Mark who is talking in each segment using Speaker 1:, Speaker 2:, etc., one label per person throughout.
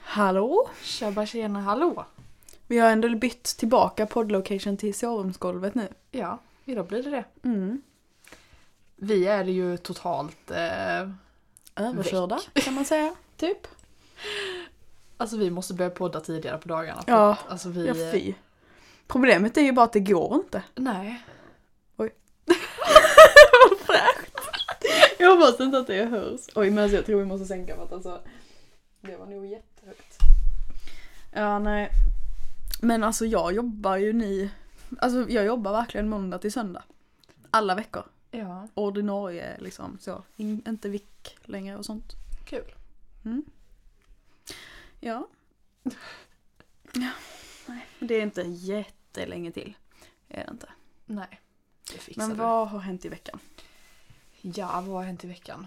Speaker 1: Hallå?
Speaker 2: Tjabba tjena hallå!
Speaker 1: Vi har ändå bytt tillbaka poddlocation till sovrumsgolvet nu.
Speaker 2: Ja, idag blir det det.
Speaker 1: Mm.
Speaker 2: Vi är ju totalt... Eh,
Speaker 1: Överkörda kan man säga. Typ.
Speaker 2: alltså vi måste börja podda tidigare på dagarna. för
Speaker 1: Ja,
Speaker 2: att, alltså vi...
Speaker 1: Ja fy. Problemet är ju bara att det går inte.
Speaker 2: Nej.
Speaker 1: Jag hoppas inte att det hörs. Oj men alltså, jag tror vi måste sänka för att alltså. Det var nog jättehögt. Ja nej. Men alltså jag jobbar ju ni. Alltså jag jobbar verkligen måndag till söndag. Alla veckor.
Speaker 2: Ja,
Speaker 1: Ordinarie liksom så. In, inte vick längre och sånt. Mm.
Speaker 2: kul.
Speaker 1: Ja. ja. Nej, det är inte jättelänge till. Är det inte.
Speaker 2: Nej, det fixar
Speaker 1: Men
Speaker 2: du.
Speaker 1: vad har hänt i veckan?
Speaker 2: Ja, vad har hänt i veckan?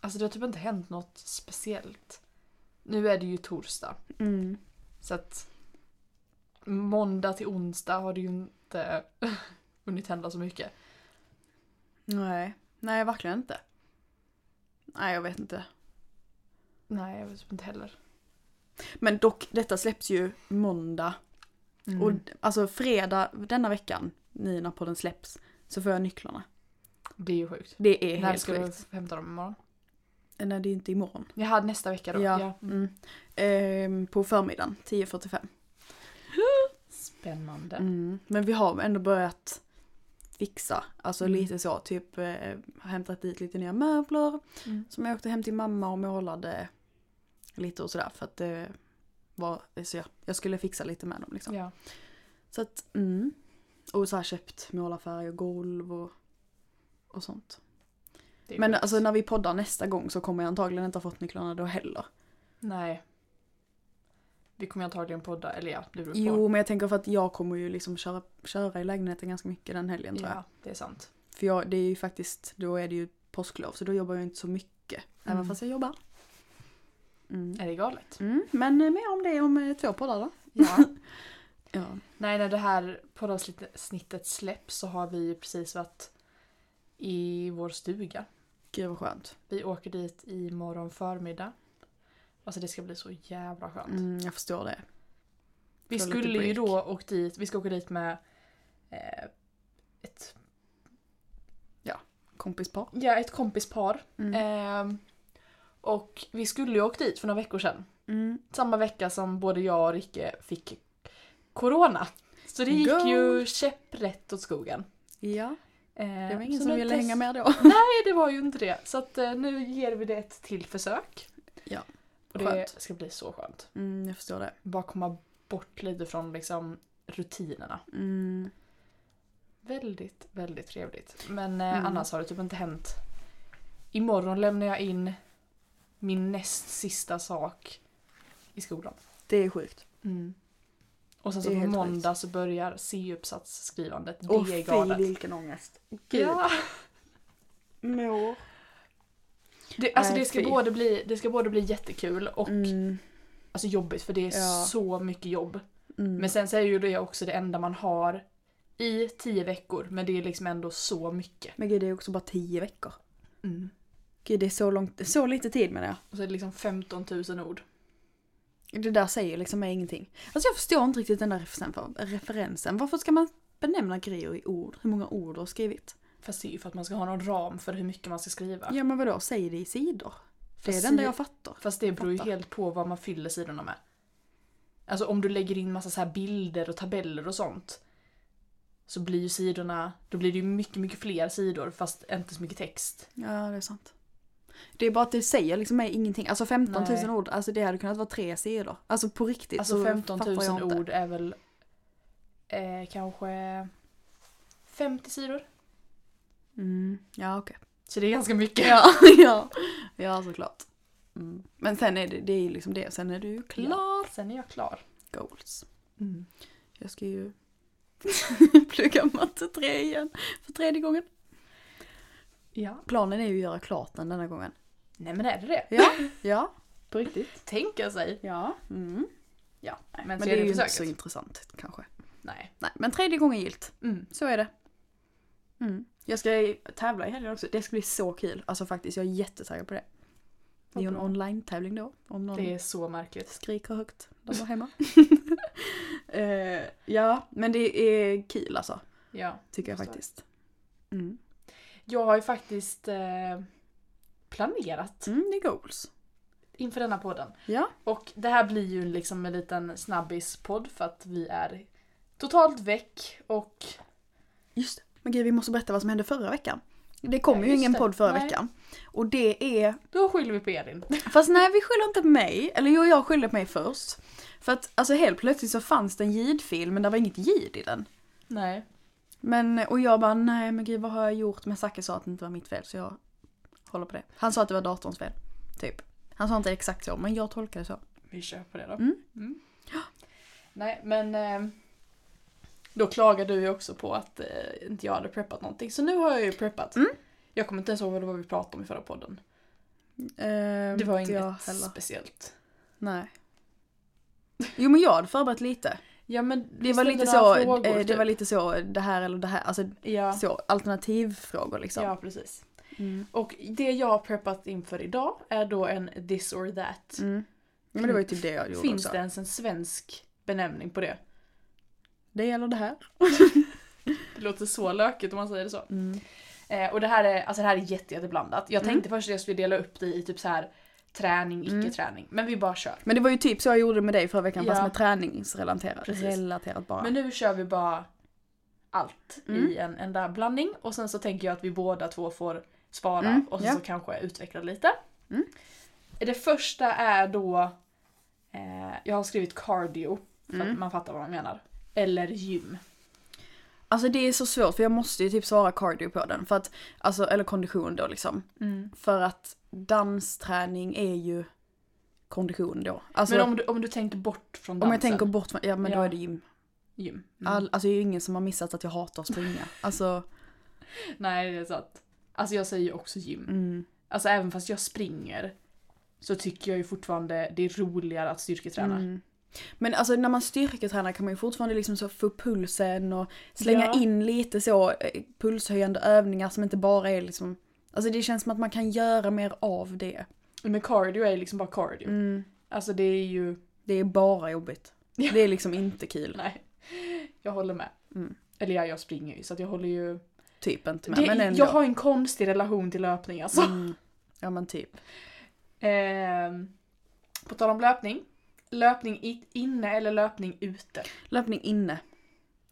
Speaker 2: Alltså det har typ inte hänt något speciellt. Nu är det ju torsdag,
Speaker 1: Mm.
Speaker 2: så att måndag till onsdag har det ju inte hunnit hända så mycket.
Speaker 1: Nej. Nej, verkligen inte. Nej, jag vet inte.
Speaker 2: Nej, jag vet typ inte heller.
Speaker 1: Men dock, detta släpps ju måndag.
Speaker 2: Mm.
Speaker 1: Och alltså fredag denna veckan, nu när podden släpps, så får jag nycklarna.
Speaker 2: det är ju sjukt.
Speaker 1: Det är
Speaker 2: När
Speaker 1: helt
Speaker 2: ska
Speaker 1: sjukt.
Speaker 2: du hämta dem imorgon?
Speaker 1: Nej, det är inte imorgon.
Speaker 2: Jag hade nästa vecka då.
Speaker 1: Ja. Mm. Ehm, på förmiddagen, 10.45.
Speaker 2: Spännande.
Speaker 1: Mm. Men vi har ändå börjat fixa. Alltså
Speaker 2: Mm.
Speaker 1: lite så, typ eh, hämtat dit lite nya möbler.
Speaker 2: Mm.
Speaker 1: Som jag åkte hem till mamma och målade lite och sådär. För att det var, så jag, jag skulle fixa lite med dem liksom.
Speaker 2: Ja.
Speaker 1: Så att, mm. Och så här köpt målarfärg och golv och, och sånt.
Speaker 2: det är
Speaker 1: Men
Speaker 2: sjukt.
Speaker 1: alltså när vi poddar nästa gång så kommer jag antagligen inte ha fått nycklarna då heller.
Speaker 2: Nej. Vi kommer ju antagligen podda, eller ja, det beror på.
Speaker 1: Jo men jag tänker för att jag kommer ju liksom köra, köra i lägenheten ganska mycket den helgen tror jag.
Speaker 2: ja, det är sant.
Speaker 1: För jag, det är ju faktiskt, då är det ju påsklov så då jobbar jag inte så mycket. Även
Speaker 2: Mm.
Speaker 1: fast jag jobbar. Mm.
Speaker 2: Är det galet?
Speaker 1: Mm, men eh, mer om det om eh, två poddar då.
Speaker 2: Ja.
Speaker 1: Ja.
Speaker 2: Nej, när det här poddavsnittet släpps så har vi ju precis varit i vår stuga.
Speaker 1: Gud vad skönt.
Speaker 2: Vi åker dit imorgon förmiddag. Alltså det ska bli så jävla skönt.
Speaker 1: Mm, jag förstår det.
Speaker 2: Vi
Speaker 1: Ta lite
Speaker 2: skulle ju
Speaker 1: break.
Speaker 2: då åkt dit, vi ska åka dit med eh, ett,
Speaker 1: Kompispar.
Speaker 2: ja, ett kompispar.
Speaker 1: Mm.
Speaker 2: Ehm, och vi skulle ju åkt dit för några veckor sedan.
Speaker 1: Mm.
Speaker 2: samma vecka som både jag och Ricke fick corona. Så det gick
Speaker 1: Gold.
Speaker 2: ju käpprätt åt skogen.
Speaker 1: Ja,
Speaker 2: Eh,
Speaker 1: det var ingen
Speaker 2: så
Speaker 1: som
Speaker 2: nu
Speaker 1: ville
Speaker 2: test-
Speaker 1: hänga med då.
Speaker 2: Nej, det var ju inte det. Så att, eh, nu ger vi det ett till försök.
Speaker 1: Ja.
Speaker 2: Och det
Speaker 1: Skönt.
Speaker 2: ska bli så skönt.
Speaker 1: Mm, jag förstår det.
Speaker 2: Bara komma bort lite från liksom, rutinerna.
Speaker 1: Mm.
Speaker 2: Väldigt, väldigt trevligt. Men eh,
Speaker 1: Mm.
Speaker 2: annars har det typ inte hänt. Imorgon lämnar jag in min näst sista sak i skolan.
Speaker 1: Det är sjukt.
Speaker 2: Och sen så
Speaker 1: Mm. Det är
Speaker 2: på
Speaker 1: helt
Speaker 2: måndag så börjar C-uppsatsskrivandet. Det
Speaker 1: Åh
Speaker 2: är
Speaker 1: fy
Speaker 2: galet.
Speaker 1: vilken ångest.
Speaker 2: Ja.
Speaker 1: Mår.
Speaker 2: Det, alltså
Speaker 1: Nej,
Speaker 2: det, ska
Speaker 1: fy.
Speaker 2: både bli, det ska både bli jättekul och
Speaker 1: Mm.
Speaker 2: alltså jobbigt för det är
Speaker 1: Ja.
Speaker 2: så mycket jobb.
Speaker 1: Mm.
Speaker 2: Men sen så är ju det också det enda man har i tio veckor men det är liksom ändå så mycket.
Speaker 1: Men gud det är också bara tio veckor. Mm. Gud det är så långt, så lite tid menar jag.
Speaker 2: Och så är det liksom 15 000 ord.
Speaker 1: Det där säger liksom mig ingenting. Alltså jag förstår inte riktigt den där referensen. För, referensen. Varför ska man benämna grejer i ord? Hur många ord du har skrivit?
Speaker 2: Fast det är ju för att man ska ha någon ram för hur mycket man ska skriva.
Speaker 1: Ja men vadå, säg det i sidor. Det är
Speaker 2: Fast
Speaker 1: det enda
Speaker 2: si-
Speaker 1: jag fattar.
Speaker 2: Fast det beror ju
Speaker 1: Fattar.
Speaker 2: helt på vad man fyller sidorna med. Alltså om du lägger in massa så här bilder och tabeller och sånt. Så blir ju sidorna, då blir det ju mycket, mycket fler sidor fast inte så mycket text.
Speaker 1: Ja det är sant. Det är bara att det säger liksom mig ingenting. Alltså 15 000
Speaker 2: Nej.
Speaker 1: ord, alltså det hade kunnat vara tre sidor. Alltså på riktigt
Speaker 2: Alltså
Speaker 1: så
Speaker 2: 15
Speaker 1: fattar jag
Speaker 2: 000
Speaker 1: inte.
Speaker 2: ord är väl eh, kanske 50 sidor.
Speaker 1: Mm. Ja okej.
Speaker 2: Så det är ganska mycket.
Speaker 1: Ja, ja. ja såklart. Mm. Men sen är det, det är ju liksom det, sen är du klar.
Speaker 2: Klar! Sen är jag klar.
Speaker 1: Goals. Mm. Jag ska ju plugga matte 3 igen för tredje gången.
Speaker 2: Ja.
Speaker 1: Planen är ju att göra klart den denna gången.
Speaker 2: Nej men är det det?
Speaker 1: Ja, ja. På riktigt.
Speaker 2: Tänka sig.
Speaker 1: Ja. Mm.
Speaker 2: Ja. Men,
Speaker 1: Men
Speaker 2: så
Speaker 1: det är ju inte
Speaker 2: försöket.
Speaker 1: så intressant kanske.
Speaker 2: Nej.
Speaker 1: Nej, men tredje gången gilt.
Speaker 2: Mm.
Speaker 1: Så är det. Mm. Jag ska tävla i helgen också. Det ska bli så kul. Alltså faktiskt, jag är jättetaggad på det. Det är ju en
Speaker 2: bra.
Speaker 1: online-tävling då. Om någon
Speaker 2: Det är så märkligt.
Speaker 1: skriker högt där hemma. eh, ja, men det är kul alltså.
Speaker 2: Ja.
Speaker 1: Tycker jag
Speaker 2: Förstår.
Speaker 1: faktiskt. Mm.
Speaker 2: Jag har ju faktiskt eh, planerat
Speaker 1: Mm, det är goals.
Speaker 2: inför denna podden.
Speaker 1: Ja.
Speaker 2: Och det här blir ju liksom en liten snabbispodd för att vi är totalt väck och
Speaker 1: Just det. Men gud, vi måste berätta vad som hände förra veckan. Det kom
Speaker 2: Ja,
Speaker 1: ju
Speaker 2: just
Speaker 1: ingen
Speaker 2: det.
Speaker 1: podd förra
Speaker 2: Nej.
Speaker 1: veckan. Och det är...
Speaker 2: då skyller vi på Elin.
Speaker 1: Fast nej, vi skyller inte på mig. Eller jo, jag skyller på mig först. För att alltså helt plötsligt så fanns det en jidfil men det var inget jid i den.
Speaker 2: Nej.
Speaker 1: Men, och jag bara nej men gud vad har jag gjort? Men Zacke sa att det inte var mitt fel så jag håller på det. Han sa att det var datorns fel. Typ. Han sa inte exakt så men jag tolkade det så.
Speaker 2: Vi kör på det då.
Speaker 1: Mm.
Speaker 2: Mm. Nej men eh, då klagade du ju också på att eh, inte jag hade preppat någonting. Så nu har jag ju preppat.
Speaker 1: Mm.
Speaker 2: Jag kommer inte ens ihåg vad det var vi pratade om i förra podden.
Speaker 1: Ehm,
Speaker 2: Det var
Speaker 1: inte jag
Speaker 2: inget
Speaker 1: heller.
Speaker 2: speciellt.
Speaker 1: Nej. Jo men jag hade förberett lite.
Speaker 2: Ja men
Speaker 1: Det var, lite så, eh, det var
Speaker 2: typ.
Speaker 1: lite så, det här eller det här, alltså
Speaker 2: Ja,
Speaker 1: så, alternativfrågor liksom.
Speaker 2: ja precis.
Speaker 1: Mm.
Speaker 2: Och det jag har preppat inför idag är då en this or that.
Speaker 1: Mm. Men det var ju typ det jag gjorde
Speaker 2: Finns
Speaker 1: också.
Speaker 2: det ens en svensk benämning på det?
Speaker 1: Det eller det här.
Speaker 2: Det låter så lökigt om man säger det så. Eh, och det här är, alltså det här är jätte, jätteblandat. Jag
Speaker 1: Mm.
Speaker 2: tänkte först att jag skulle dela upp det i typ så här träning,
Speaker 1: Mm.
Speaker 2: icke-träning. Men vi bara kör.
Speaker 1: Men det var ju typ så jag gjorde med dig förra veckan fast
Speaker 2: Ja.
Speaker 1: med träningsrelaterat.
Speaker 2: Precis.
Speaker 1: Relaterat bara.
Speaker 2: Men nu kör vi bara allt
Speaker 1: Mm.
Speaker 2: i en enda blandning. Och sen så tänker jag att vi båda två får svara
Speaker 1: Mm,
Speaker 2: och sen
Speaker 1: ja.
Speaker 2: så kanske utveckla lite.
Speaker 1: Mm.
Speaker 2: Det första är då, eh, jag har skrivit cardio, för att
Speaker 1: Mm.
Speaker 2: man fattar vad man menar. Eller gym.
Speaker 1: Alltså det är så svårt för jag måste ju typ svara cardio på den. För att, alltså, eller kondition då liksom. För att dansträning är ju kondition då. Alltså
Speaker 2: Men
Speaker 1: om,
Speaker 2: om du, om du tänker bort från dansen.
Speaker 1: jag tänker bort från, ja men då
Speaker 2: Ja.
Speaker 1: är det gym.
Speaker 2: gym. Mm.
Speaker 1: All, alltså det är ju ingen som har missat att jag hatar att springa. Alltså,
Speaker 2: Nej, det är sant. Alltså jag säger ju också gym.
Speaker 1: mm.
Speaker 2: Alltså även fast jag springer så tycker jag ju fortfarande det är roligare att styrketräna.
Speaker 1: Mm. Men alltså när man styrketränar kan man ju fortfarande liksom så få upp pulsen och slänga
Speaker 2: Ja.
Speaker 1: in lite så eh, pulshöjande övningar som inte bara är liksom Alltså det känns som att man kan göra mer av det.
Speaker 2: Men cardio är ju liksom bara cardio.
Speaker 1: Mm.
Speaker 2: Alltså det är ju...
Speaker 1: Det är bara jobbigt.
Speaker 2: Ja.
Speaker 1: Det är liksom inte kul.
Speaker 2: Nej. Jag håller med.
Speaker 1: Mm.
Speaker 2: Eller ja, jag springer ju så att jag håller ju...
Speaker 1: Typ inte med,
Speaker 2: Det,
Speaker 1: men ändå.
Speaker 2: jag har en konstig relation till löpning alltså.
Speaker 1: mm. Ja men typ.
Speaker 2: Ehm, på tal om löpning. Löpning i- inne eller löpning ute.
Speaker 1: Löpning inne.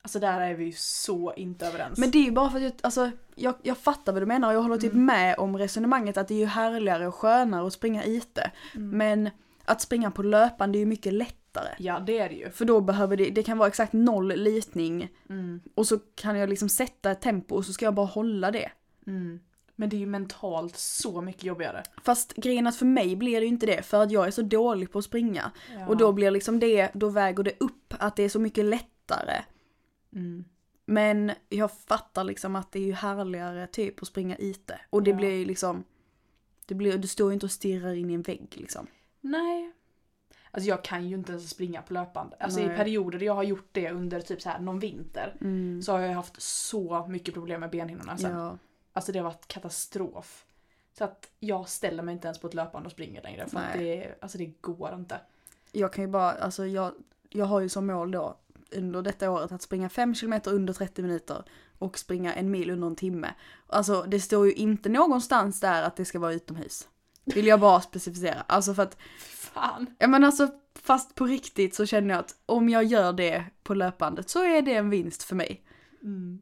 Speaker 2: Alltså där är vi ju så inte överens.
Speaker 1: Men det är ju bara för att jag, alltså, jag, jag fattar vad du menar och jag håller typ
Speaker 2: Mm.
Speaker 1: med om resonemanget att det är ju härligare och skönare att springa ite.
Speaker 2: Mm.
Speaker 1: Men att springa på löpande är ju mycket lättare.
Speaker 2: Ja, det är det ju.
Speaker 1: För då behöver det, det kan vara exakt noll litning
Speaker 2: Mm.
Speaker 1: och så kan jag liksom sätta ett tempo och så ska jag bara hålla det.
Speaker 2: Mm. Men det är ju mentalt så mycket jobbigare.
Speaker 1: Fast grejen är att för mig blir det ju inte det för att jag är så dålig på att springa. Och då blir liksom det, då väger det upp att det är så mycket lättare.
Speaker 2: Mm.
Speaker 1: Men jag fattar liksom att det är ju härligare typ att springa ite. Och det
Speaker 2: Ja.
Speaker 1: blir ju liksom, det blir, du står ju inte och stirrar in i en vägg liksom.
Speaker 2: Nej. Alltså jag kan ju inte ens springa på löpande. Alltså i
Speaker 1: Nej.
Speaker 2: perioder där jag har gjort det under typ så här någon vinter
Speaker 1: Mm.
Speaker 2: så har jag haft så mycket problem med benhinnorna sen.
Speaker 1: Ja.
Speaker 2: Alltså det har varit katastrof. Så att jag ställer mig inte ens på ett löpande och springer längre för att
Speaker 1: Nej.
Speaker 2: det, alltså det går inte.
Speaker 1: Jag kan ju bara, alltså jag, jag har ju som mål då under detta året att springa 5 km under 30 minuter och springa en mil under en timme. Alltså det står ju inte någonstans där att det ska vara utomhus. Vill jag bara specificera. Alltså för att,
Speaker 2: Fan.
Speaker 1: ja men alltså fast på riktigt så känner jag att om jag gör det på löpandet så är det en vinst för mig.
Speaker 2: Mm.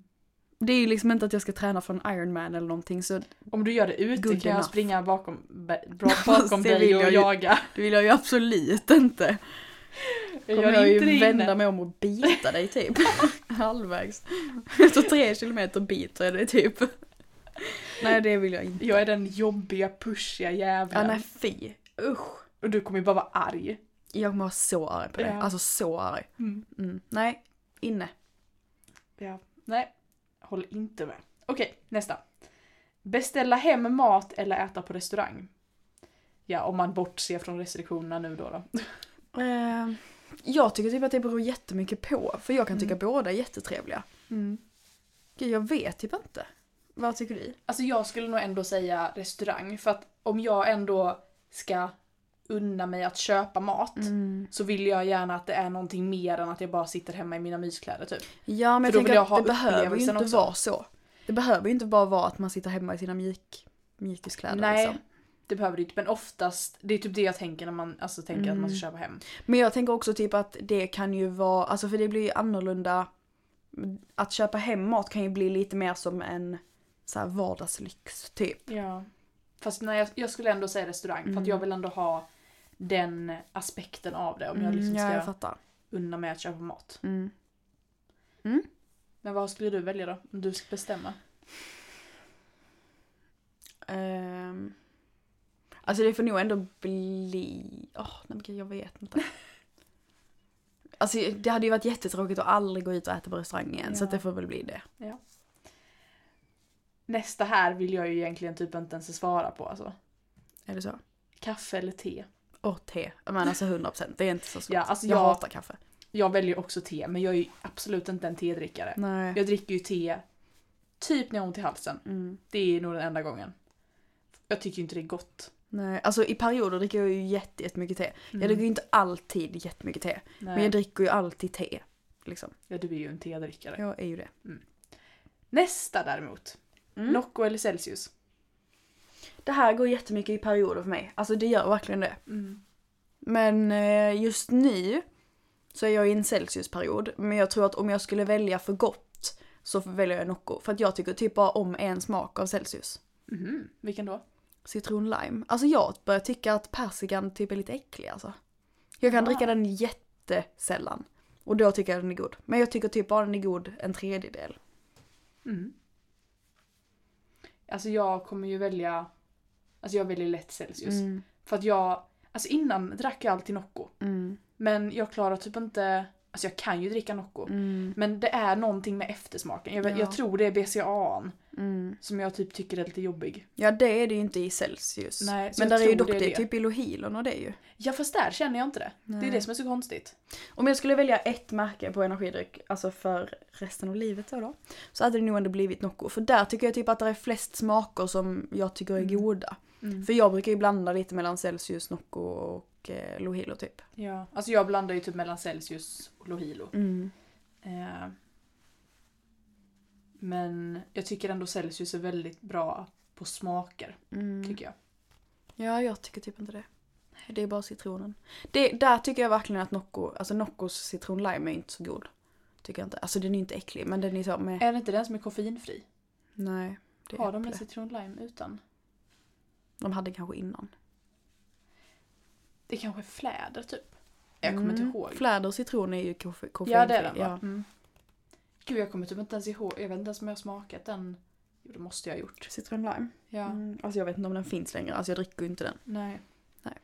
Speaker 1: Det är ju liksom inte att jag ska träna för en Ironman eller någonting så
Speaker 2: Om du gör det
Speaker 1: Good
Speaker 2: ute kan jag
Speaker 1: enough. Alltså,
Speaker 2: springa bakom, ba- bra- bakom
Speaker 1: Det
Speaker 2: dig
Speaker 1: vill
Speaker 2: och
Speaker 1: jag ju.
Speaker 2: jaga.
Speaker 1: det vill jag ju absolut inte.
Speaker 2: Jag
Speaker 1: Kommer
Speaker 2: gör
Speaker 1: jag
Speaker 2: inte det
Speaker 1: ju vända
Speaker 2: inne.
Speaker 1: mig om och bita dig typ. Halvvägs. Så tre kilometer biter jag dig typ. Nej det vill jag inte.
Speaker 2: Jag är den jobbiga, pushiga
Speaker 1: Ja,
Speaker 2: jäveln.
Speaker 1: nej fy. Usch.
Speaker 2: och du kommer ju bara vara arg.
Speaker 1: Jag kommer vara så arg på det.
Speaker 2: Ja.
Speaker 1: Alltså så arg. Mm. Nej, inne.
Speaker 2: Ja, nej. Håller inte med. Okej, nästa. Beställa hem mat eller äta på restaurang? Ja, om man bortser från restriktionerna nu då. då.
Speaker 1: Eh, jag tycker typ att det beror jättemycket på. För jag kan tycka båda är jättetrevliga. Gud, jag vet typ inte. Vad tycker du?
Speaker 2: Alltså jag skulle nog ändå säga restaurang för att om jag ändå ska unna mig att köpa mat
Speaker 1: Mm.
Speaker 2: så vill jag gärna att det är någonting mer än att jag bara sitter hemma i mina myskläder typ.
Speaker 1: Ja men jag
Speaker 2: För då vill
Speaker 1: tänker
Speaker 2: jag
Speaker 1: att
Speaker 2: ha
Speaker 1: det behöver ju
Speaker 2: upplevelsen
Speaker 1: inte
Speaker 2: också.
Speaker 1: vara så. Det behöver ju inte bara vara att man sitter hemma i sina mjik, mjukiskläder
Speaker 2: Nej,
Speaker 1: liksom.
Speaker 2: det behöver du inte. Men oftast, det är typ det jag tänker när man alltså, tänker att man ska
Speaker 1: Mm.
Speaker 2: köpa hem.
Speaker 1: Men jag tänker också typ att det kan ju vara, alltså för det blir ju annorlunda. Att köpa hem mat kan ju bli lite mer som en så här vardagslyx typ.
Speaker 2: Ja. Fast nej, jag, jag skulle ändå säga restaurang för att
Speaker 1: Mm.
Speaker 2: jag vill ändå ha den aspekten av det om jag liksom ska
Speaker 1: Mm, ja, jag fattar.
Speaker 2: unna mig att köpa mat.
Speaker 1: Mm.
Speaker 2: Men vad skulle du välja då? Om du ska bestämma?
Speaker 1: Ehm. Alltså det får nog ändå bli... Åh, nej men gud, jag vet inte. Alltså det hade ju varit jättetråkigt att aldrig gå ut och äta på restaurang igen så
Speaker 2: Ja.
Speaker 1: att det får väl bli det.
Speaker 2: Nästa här vill jag ju egentligen typ inte ens svara på alltså.
Speaker 1: Är det så?
Speaker 2: Kaffe eller te?
Speaker 1: Och te. Men alltså 100%, det är inte så svårt.
Speaker 2: Ja, alltså
Speaker 1: jag
Speaker 2: jag-
Speaker 1: hatar kaffe.
Speaker 2: Jag väljer också te men jag är ju absolut inte en tedrickare.
Speaker 1: Nej.
Speaker 2: Jag dricker ju te typ när jag har ont i halsen.
Speaker 1: Mm.
Speaker 2: Det är nog den enda gången. Jag tycker ju inte det är gott.
Speaker 1: Nej. Alltså i perioder dricker jag ju jätte, jättemycket te. Jag dricker ju inte alltid jättemycket te.
Speaker 2: Mm. Nej.
Speaker 1: Men jag dricker ju alltid te. Liksom.
Speaker 2: Ja, du är ju en tedrickare.
Speaker 1: Jag är ju det.
Speaker 2: Nästa däremot.
Speaker 1: Mm.
Speaker 2: Nocco eller Celsius?
Speaker 1: Det här går jättemycket i perioder för mig. Alltså det gör verkligen det. Men eh, just nu så är jag i en Celsius-period. Men jag tror att om jag skulle välja för gott så väljer jag Nocco. För att jag tycker typ bara om en smak av Celsius. Mm-hmm.
Speaker 2: Mhm. Vilken då?
Speaker 1: Citron lime. Alltså jag börjar tycka att persikan typ är lite äcklig alltså. Jag kan
Speaker 2: Ah.
Speaker 1: dricka den jättesällan. Och då tycker jag den är god. Men jag tycker typ bara den är god en tredjedel. Mm-hmm.
Speaker 2: Mm. Alltså jag kommer ju välja... Alltså jag väljer lätt Celsius.
Speaker 1: Mm.
Speaker 2: För att jag... Alltså innan drack jag alltid Nocco.
Speaker 1: Mm.
Speaker 2: Men jag klarar typ inte... Alltså jag kan ju dricka Nocco.
Speaker 1: Mm.
Speaker 2: Men det är någonting med eftersmaken. Jag, vet-
Speaker 1: Ja.
Speaker 2: jag tror det är BCAAn
Speaker 1: Mm.
Speaker 2: som jag typ tycker är lite jobbig.
Speaker 1: Ja det är det ju inte i Celsius.
Speaker 2: Nej, så
Speaker 1: Men
Speaker 2: jag
Speaker 1: där är ju
Speaker 2: tror
Speaker 1: dock
Speaker 2: det
Speaker 1: det,
Speaker 2: är det.
Speaker 1: typ i Lohilon och det ju.
Speaker 2: Ja fast där känner jag inte det. Det
Speaker 1: Nej.
Speaker 2: är det som är så konstigt.
Speaker 1: Om jag skulle välja ett märke på energidryck, alltså för resten av livet så då, så hade det nog ändå blivit Nocco. För där tycker jag typ att det är flest smaker som jag tycker är
Speaker 2: Mm.
Speaker 1: goda. För jag brukar ju blanda lite mellan Celsius, Nocco och eh, Lohilo typ.
Speaker 2: Ja. Alltså jag blandar ju typ mellan Celsius och Lohilo.
Speaker 1: Mm.
Speaker 2: Eh, men jag tycker ändå Celsius är väldigt bra på smaker,
Speaker 1: Mm.
Speaker 2: tycker jag.
Speaker 1: Ja, jag tycker typ inte det. Det är bara citronen. Det, där tycker jag verkligen att Nocco, alltså Noccos citron lime är inte så god. Tycker jag inte. Alltså den är ju inte äcklig men den är så med...
Speaker 2: Är det inte den som är koffeinfri?
Speaker 1: Nej. Det är
Speaker 2: Har de en
Speaker 1: äpple.
Speaker 2: citron lime utan?
Speaker 1: de hade kanske innan.
Speaker 2: Det kanske är fläder typ? Jag kommer
Speaker 1: Mm.
Speaker 2: inte ihåg.
Speaker 1: Fläder och citron är ju koffe- koffeinfri.
Speaker 2: ja det är den va?
Speaker 1: ja.
Speaker 2: Mm. Gud jag kommer typ inte ens ihåg. Jag vet inte ens om jag har smakat den. Jo det måste jag ha gjort.
Speaker 1: Citron lime.
Speaker 2: Ja.
Speaker 1: Mm, alltså jag vet inte om den finns längre, alltså jag dricker ju inte den.
Speaker 2: Nej.
Speaker 1: Nej.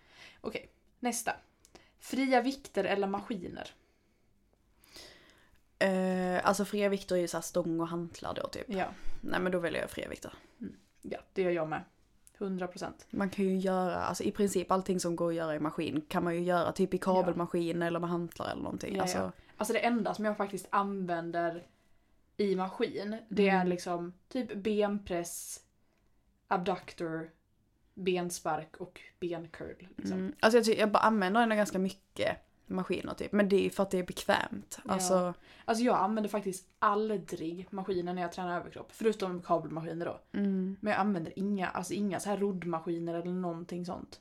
Speaker 2: Okej, nästa. Fria vikter eller maskiner?
Speaker 1: Eh, alltså fria vikter är ju såhär stång och hantlar då typ.
Speaker 2: Ja,
Speaker 1: Nej men då väljer jag fria vikter.
Speaker 2: ja det gör jag med. 100%.
Speaker 1: Man kan ju göra, alltså i princip allting som går att göra i maskin kan man ju göra typ i kabelmaskin eller med hantlar eller någonting.
Speaker 2: Ja,
Speaker 1: alltså,
Speaker 2: ja. Alltså det enda som jag faktiskt använder i maskin, det är
Speaker 1: Mm.
Speaker 2: liksom typ benpress, abductor, benspark och bencurl. Liksom.
Speaker 1: Mm. alltså jag, ty- jag bara använder ändå ganska mycket maskiner typ. Men det är ju för att det är bekvämt.
Speaker 2: Ja.
Speaker 1: Alltså,
Speaker 2: Alltså jag använder faktiskt aldrig maskiner när jag tränar överkropp, förutom kabelmaskiner då.
Speaker 1: mm.
Speaker 2: Men jag använder inga, alltså inga så här roddmaskiner eller någonting sånt.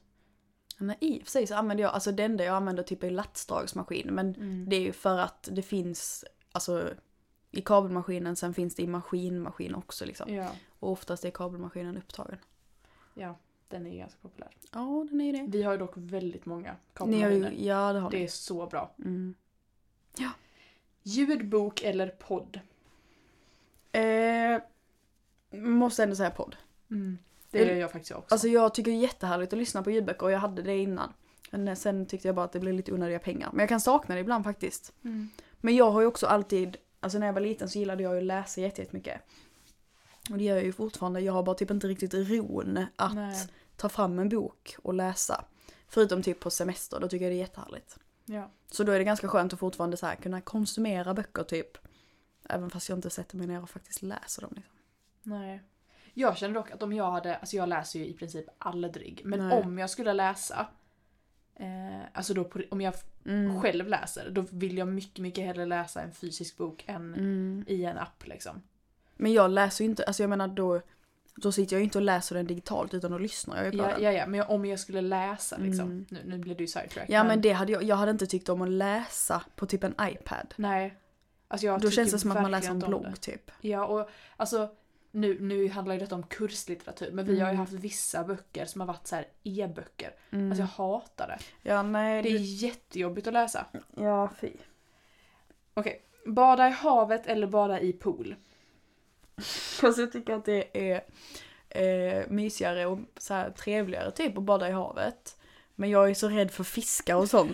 Speaker 1: Nej, i och för sig så använder jag, alltså det enda jag använder typ är latsdragsmaskin. Men det är ju för att det finns, alltså i kabelmaskinen, sen finns det i maskinmaskin också liksom.
Speaker 2: Ja.
Speaker 1: Och oftast är kabelmaskinen upptagen.
Speaker 2: ja, den är ju ganska populär.
Speaker 1: Ja, den är det.
Speaker 2: Vi har ju dock väldigt många
Speaker 1: Ni har
Speaker 2: kabelmaskiner.
Speaker 1: ju, ja, det har
Speaker 2: Det
Speaker 1: ni.
Speaker 2: är så bra.
Speaker 1: Mm.
Speaker 2: Ljudbok eller podd?
Speaker 1: Eh, måste ändå säga podd.
Speaker 2: Det gör jag faktiskt också.
Speaker 1: Mm. Alltså jag tycker det är jättehärligt att lyssna på ljudböcker och jag hade det innan. Men sen tyckte jag bara att det blev lite onödiga pengar. Men jag kan sakna det ibland faktiskt.
Speaker 2: Mm.
Speaker 1: Men jag har ju också alltid, alltså när jag var liten så gillade jag ju att läsa jätte- jättemycket. Och det gör jag ju fortfarande. Jag har bara typ inte riktigt ron att
Speaker 2: Nej.
Speaker 1: ta fram en bok och läsa. Förutom typ på semester, då tycker jag det är jättehärligt.
Speaker 2: Ja.
Speaker 1: Så då är det ganska skönt att fortfarande så här kunna konsumera böcker typ. Även fast jag inte sätter mig ner och faktiskt läser dem. Liksom.
Speaker 2: Nej. Jag känner dock att om jag hade, alltså jag läser ju i princip aldrig, men
Speaker 1: Nej.
Speaker 2: om jag skulle läsa, eh, alltså då på, om jag f-
Speaker 1: Mm.
Speaker 2: själv läser, då vill jag mycket, mycket hellre läsa en fysisk bok än
Speaker 1: Mm.
Speaker 2: i en app liksom.
Speaker 1: Men jag läser ju inte, alltså jag menar då, då sitter jag ju inte och läser den digitalt utan då lyssnar jag ju på
Speaker 2: Ja,
Speaker 1: den.
Speaker 2: ja, ja, men jag- om jag skulle läsa liksom,
Speaker 1: Mm.
Speaker 2: nu, nu blir du sidetrack.
Speaker 1: Ja men det hade jag, jag hade inte tyckt om att läsa på typ en iPad.
Speaker 2: Nej. Alltså
Speaker 1: Då
Speaker 2: jag
Speaker 1: känns
Speaker 2: tycker
Speaker 1: det som att man
Speaker 2: verkligen
Speaker 1: läser en
Speaker 2: inte om
Speaker 1: blogg
Speaker 2: det.
Speaker 1: typ.
Speaker 2: Ja, och alltså nu, nu handlar ju detta om kurslitteratur, men vi har ju
Speaker 1: Mm.
Speaker 2: haft vissa böcker som har varit så här e-böcker.
Speaker 1: Mm.
Speaker 2: Alltså jag hatar det.
Speaker 1: ja nej.
Speaker 2: Det är jättejobbigt att läsa.
Speaker 1: Ja fy.
Speaker 2: Okej. Bada i havet eller bada i pool?
Speaker 1: Fast Alltså, jag tycker att det är eh, mysigare och så här, trevligare typ att bada i havet. Men jag är så rädd för fiskar och sånt.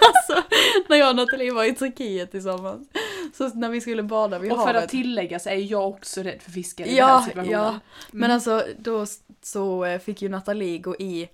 Speaker 1: alltså, när jag och Nathalie var i Turkiet tillsammans. Så när vi skulle bada vid
Speaker 2: och för
Speaker 1: havet.
Speaker 2: att tillägga så är jag också rädd för fiskar i den här
Speaker 1: ja,
Speaker 2: situationen. Mm.
Speaker 1: ja. Men alltså då s- så eh, fick ju Nathalie gå i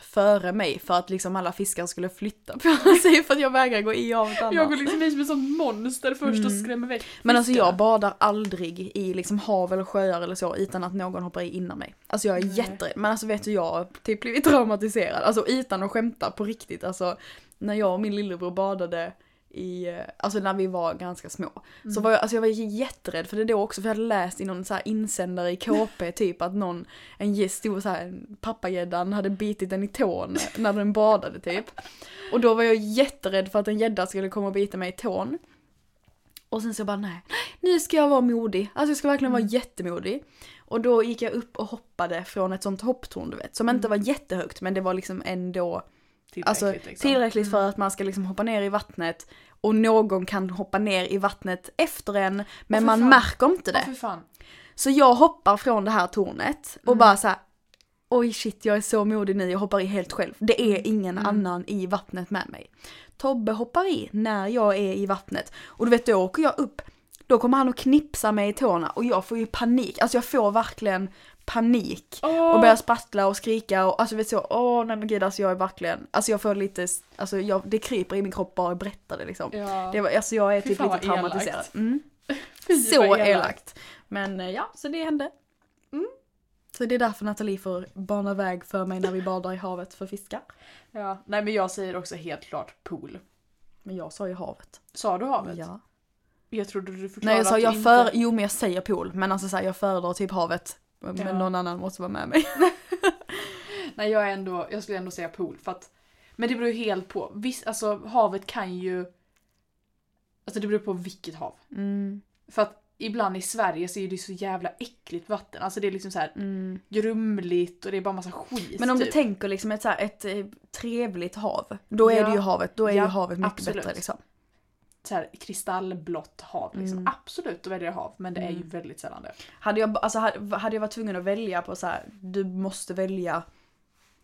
Speaker 1: före mig för att liksom alla fiskar skulle flytta på sig för att jag vägrar gå i havet annars.
Speaker 2: Jag går liksom i som ett sånt monster först och
Speaker 1: Mm.
Speaker 2: skrämmer iväg
Speaker 1: Men alltså
Speaker 2: fiskarna.
Speaker 1: jag badar aldrig i liksom hav eller sjöar eller så utan att någon hoppar i innan mig. Alltså jag är
Speaker 2: Nej.
Speaker 1: jätterädd. Men alltså vet du, jag har typ blivit traumatiserad. Alltså utan att skämta på riktigt. Alltså när jag och min lillebror badade i, eh, alltså när vi var ganska små. Så var jag, alltså jag var jätterädd för det då också. För jag hade läst i någon så här insändare i KP typ att någon, en ge- stor så här, en pappagäddan hade bitit den i tån när den badade typ. Och då var jag jätterädd för att en gädda skulle komma och bita mig i tån. Och sen så jag bara nej, nu ska jag vara modig. Alltså jag ska verkligen
Speaker 2: Mm.
Speaker 1: vara jättemodig. Och då gick jag upp och hoppade från ett sånt hopptorn du vet. Som inte var jättehögt men det var liksom ändå
Speaker 2: Mm. Tillräckligt,
Speaker 1: alltså,
Speaker 2: liksom.
Speaker 1: tillräckligt för att man ska liksom hoppa ner i vattnet. Och någon kan hoppa ner i vattnet efter en men
Speaker 2: för
Speaker 1: man
Speaker 2: fan.
Speaker 1: märker inte
Speaker 2: Ja,
Speaker 1: det.
Speaker 2: för fan.
Speaker 1: Så jag hoppar från det här tornet och bara så här. Oj shit, jag är så modig nu, jag hoppar i helt själv. Det är ingen annan i vattnet med mig. Tobbe hoppar i när jag är i vattnet. Och du vet, då åker jag upp. Då kommer han och knipsa mig i tårna och jag får ju panik. Alltså jag får verkligen panik. Och
Speaker 2: Åh!
Speaker 1: börjar sprattla och skrika och alltså vet så, åh nej men gud alltså jag är verkligen, alltså jag får lite, alltså jag, det kryper i min kropp bara jag berättar det liksom.
Speaker 2: Ja.
Speaker 1: Det var, alltså jag är
Speaker 2: Fy
Speaker 1: typ
Speaker 2: fan,
Speaker 1: lite
Speaker 2: vad elakt.
Speaker 1: traumatiserad. Mm.
Speaker 2: Fy,
Speaker 1: Så
Speaker 2: vad
Speaker 1: elakt. Men eh, ja, så det hände. Mm. Så det är därför Nathalie får bana väg för mig när vi badar i havet för fiskar.
Speaker 2: Ja. Nej men jag säger också helt klart pool.
Speaker 1: Men jag sa ju havet.
Speaker 2: Sa du havet?
Speaker 1: Ja.
Speaker 2: Jag trodde du förklarade
Speaker 1: Nej jag sa
Speaker 2: att du
Speaker 1: jag
Speaker 2: inte-
Speaker 1: för, jo men jag säger pool, men alltså så här, jag föredrar typ havet. Men
Speaker 2: Ja.
Speaker 1: någon annan måste vara med mig.
Speaker 2: Nej jag, är ändå, jag skulle ändå säga pool för att Men det beror ju helt på. Viss, alltså havet kan ju Alltså det beror på vilket hav.
Speaker 1: Mm,
Speaker 2: För att ibland i Sverige så är det så jävla äckligt vatten. Alltså det är liksom så här
Speaker 1: mm.
Speaker 2: grumligt och det är bara massa skit.
Speaker 1: Men om du
Speaker 2: typ.
Speaker 1: tänker liksom ett, så här, ett eh, trevligt hav, då är
Speaker 2: Ja.
Speaker 1: det ju havet, då är
Speaker 2: Ja,
Speaker 1: ju havet mycket
Speaker 2: absolut.
Speaker 1: bättre liksom.
Speaker 2: så här kristallblått hav liksom.
Speaker 1: Mm.
Speaker 2: Absolut, då väljer jag hav. Men det är ju väldigt sällan det.
Speaker 1: Hade jag, alltså, hade, hade jag varit tvungen att välja på så här, du måste välja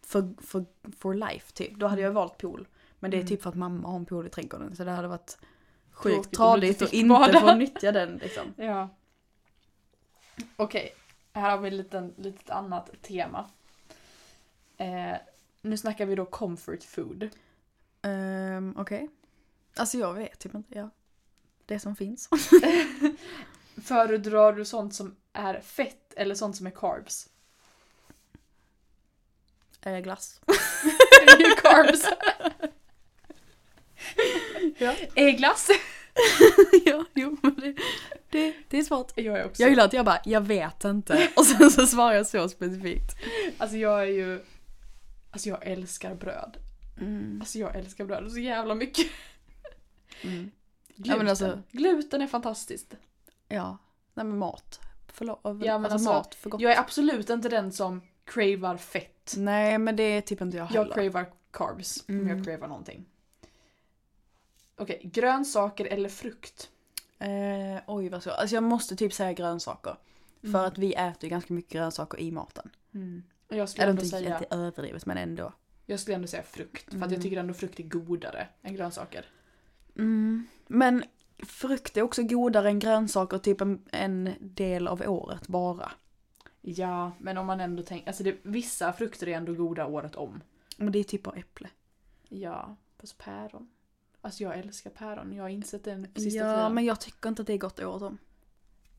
Speaker 1: för, för, for life typ, då hade jag valt pool. Men det är typ för att mamma har en pool i trädgården så det hade varit sjukt
Speaker 2: Tråkigt om du
Speaker 1: tradigt
Speaker 2: inte
Speaker 1: och
Speaker 2: fick
Speaker 1: inte
Speaker 2: bada.
Speaker 1: få nyttja den liksom.
Speaker 2: Ja. Okej, här har vi ett liten, litet annat tema. Eh, nu snackar vi då comfort food.
Speaker 1: Um, Okej. Alltså jag vet typ inte, ja. Det som finns.
Speaker 2: Föredrar du sånt som är fett eller sånt som är carbs?
Speaker 1: Eh, glass.
Speaker 2: Det är ju carbs.
Speaker 1: Ja.
Speaker 2: Ägglass?
Speaker 1: ja, jo men det, det, det är svårt.
Speaker 2: Jag är också.
Speaker 1: Jag gillar att jag bara, jag vet inte. Och sen så svarar jag så specifikt.
Speaker 2: Alltså jag är ju... Alltså jag älskar bröd. Alltså jag älskar bröd så jävla mycket.
Speaker 1: Mm.
Speaker 2: Gluten.
Speaker 1: Ja, men alltså-
Speaker 2: Gluten är fantastiskt.
Speaker 1: Ja. Nej men mat. Förlåt. eh,
Speaker 2: Ja, men alltså,
Speaker 1: mat för gott.
Speaker 2: Jag är absolut inte den som cravar fett.
Speaker 1: Nej men det är typ inte jag
Speaker 2: Jag
Speaker 1: heller.
Speaker 2: cravar carbs om
Speaker 1: Mm.
Speaker 2: jag cravar någonting. Okej, grönsaker eller frukt?
Speaker 1: eh, oj vad så. Alltså jag måste typ säga grönsaker.
Speaker 2: Mm.
Speaker 1: För att vi äter ju ganska mycket grönsaker i maten.
Speaker 2: Och Mm. Jag skulle,
Speaker 1: Eller
Speaker 2: ändå
Speaker 1: inte,
Speaker 2: säga,
Speaker 1: inte överdrivet men ändå.
Speaker 2: jag skulle ändå säga frukt, för att
Speaker 1: Mm.
Speaker 2: jag tycker ändå frukt är godare än grönsaker.
Speaker 1: Mm. Men frukt är också godare än grönsaker typ en, en del av året bara.
Speaker 2: Ja, men om man ändå tänker, alltså det, vissa frukter är ändå goda året om.
Speaker 1: Men det är typ bara äpple.
Speaker 2: Ja, fast päron. Alltså jag älskar päron, jag har insett den på sista
Speaker 1: Ja
Speaker 2: tiden.
Speaker 1: men jag tycker inte att det är gott året om.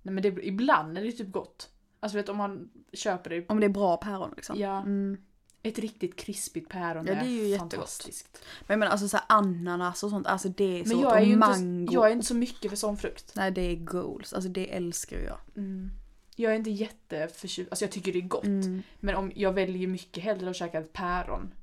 Speaker 2: Nej men det, ibland är det typ gott. Alltså vet du, om man köper det,
Speaker 1: Om det är bra päron liksom.
Speaker 2: ja,
Speaker 1: Mm.
Speaker 2: ett riktigt krispigt päron
Speaker 1: Ja, det är ju jättegott.
Speaker 2: fantastiskt.
Speaker 1: Men jag menar alltså så här, ananas och sånt, alltså det är så
Speaker 2: Men
Speaker 1: gott.
Speaker 2: jag är
Speaker 1: Och
Speaker 2: ju
Speaker 1: mango.
Speaker 2: inte, jag är inte så mycket för sån frukt. Mm.
Speaker 1: Nej det är goals, alltså det älskar jag.
Speaker 2: Jag är inte jätteförtjust, alltså jag tycker det är gott.
Speaker 1: Mm.
Speaker 2: Men om jag väljer mycket hellre att käka ett päron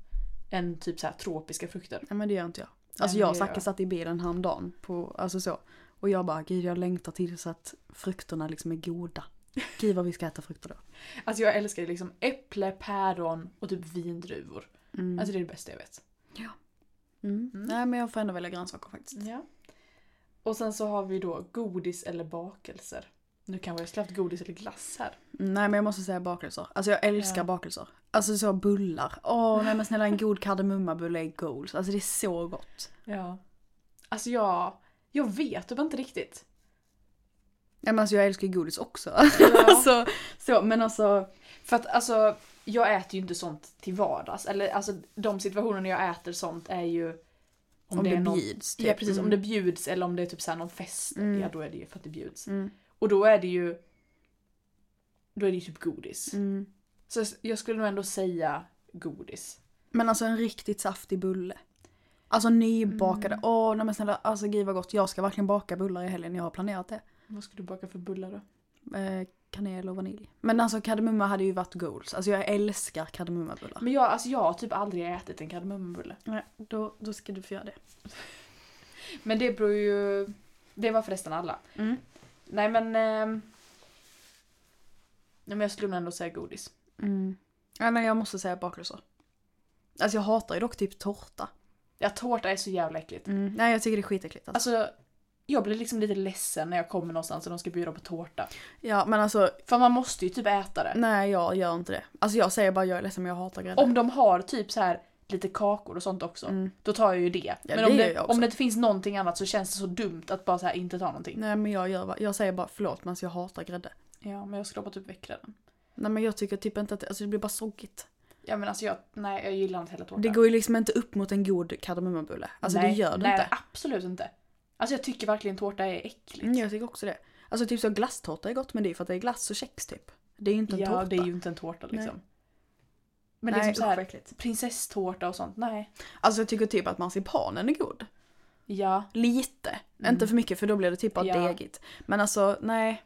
Speaker 2: än typ så här tropiska frukter.
Speaker 1: Nej men det gör inte jag. Alltså
Speaker 2: men
Speaker 1: jag
Speaker 2: det
Speaker 1: och
Speaker 2: gör
Speaker 1: Zacke
Speaker 2: jag.
Speaker 1: satt i bilen häromdagen på, alltså så. Och jag bara, gud jag längtar tills att frukterna liksom är goda. Gud vad vi ska äta frukter då.
Speaker 2: Alltså jag älskar liksom äpple, päron och typ vindruvor.
Speaker 1: Mm.
Speaker 2: Alltså det är det bästa jag vet.
Speaker 1: Mm.
Speaker 2: Mm.
Speaker 1: Nej men jag får ändå välja grönsaker faktiskt.
Speaker 2: Ja. Och sen så har vi då godis eller bakelser. Nu kanske jag skulle haft godis eller glass här.
Speaker 1: Nej men jag måste säga bakelser. Alltså jag älskar
Speaker 2: Ja.
Speaker 1: bakelser. Alltså så bullar. Åh nej men snälla en god kardemummabulle är goals. Alltså det är så gott.
Speaker 2: Ja. Alltså jag, jag vet typ inte riktigt.
Speaker 1: Nej men alltså jag älskar godis också.
Speaker 2: Ja.
Speaker 1: alltså, så, men alltså.
Speaker 2: För att alltså, jag äter ju inte sånt till vardags. Eller alltså de situationerna jag äter sånt är ju om,
Speaker 1: Om, det,
Speaker 2: är någon-
Speaker 1: bjuds. typ.
Speaker 2: Ja precis, om det bjuds eller om det är typ så här någon fest.
Speaker 1: Mm.
Speaker 2: Ja då är det ju för att det bjuds.
Speaker 1: Mm.
Speaker 2: Och då är det ju då är det ju typ godis.
Speaker 1: Mm.
Speaker 2: Så jag- jag skulle nog ändå säga godis.
Speaker 1: Men alltså en riktigt saftig bulle. Alltså nybakade. Åh nej men snälla, alltså gud vad gott. Jag ska verkligen baka bullar i helgen, jag har planerat det.
Speaker 2: Vad ska du baka för bullar då?
Speaker 1: Eh, kanel och vanilj. Men alltså kardemumma hade ju varit goals. Alltså jag älskar kardemummabullar.
Speaker 2: Men jag, alltså jag har typ aldrig ätit en kardemummabulle.
Speaker 1: Nej, då, då ska du få göra det.
Speaker 2: Men det beror ju... Det var förresten alla.
Speaker 1: Mm.
Speaker 2: Nej men... ehm, Nej men jag skulle nog ändå säga godis.
Speaker 1: Mm. Ja, nej, jag måste säga bakelser. Alltså jag hatar ju dock typ tårta.
Speaker 2: Ja, tårta är så jävla äckligt.
Speaker 1: Nej jag tycker det är skitäckligt. Alltså.
Speaker 2: Alltså, jag blir liksom lite ledsen när jag kommer någonstans och de ska bjuda på tårta.
Speaker 1: Ja men alltså
Speaker 2: För man måste ju typ äta det.
Speaker 1: nej jag gör inte det. Alltså jag säger bara jag är ledsen men jag hatar grädde.
Speaker 2: Om de har typ så här lite kakor och sånt också,
Speaker 1: Mm.
Speaker 2: då tar jag ju det. Men
Speaker 1: det
Speaker 2: om,
Speaker 1: gör
Speaker 2: det,
Speaker 1: jag också.
Speaker 2: om det inte finns någonting annat så känns det så dumt att bara så här inte ta någonting.
Speaker 1: Nej men jag gör jag säger bara förlåt men alltså jag hatar grädde.
Speaker 2: Ja, men jag skulle hoppa typ väckra den.
Speaker 1: Nej men jag tycker typ inte att det, alltså det blir bara soggigt.
Speaker 2: Ja men alltså jag, nej jag gillar inte heller tårta.
Speaker 1: Det går ju liksom inte upp mot en god kardemummabulle. Alltså
Speaker 2: nej,
Speaker 1: det gör det
Speaker 2: nej,
Speaker 1: inte.
Speaker 2: absolut inte. Alltså jag tycker verkligen tårta är äckligt.
Speaker 1: Mm, jag tycker också det. Alltså typ så glasstårta är gott men det är ju för att det är glass och kex typ. Det är ju inte en
Speaker 2: ja,
Speaker 1: tårta.
Speaker 2: det är ju inte en tårta liksom. Men
Speaker 1: Nej,
Speaker 2: liksom så
Speaker 1: usch, vad
Speaker 2: här,
Speaker 1: äckligt.
Speaker 2: prinsesstårta och sånt, nej.
Speaker 1: Alltså jag tycker typ att marsipanen är god.
Speaker 2: Ja,
Speaker 1: Lite. Inte för mycket för då blir det typ bara
Speaker 2: Mm. Ja.
Speaker 1: degigt. Men alltså nej.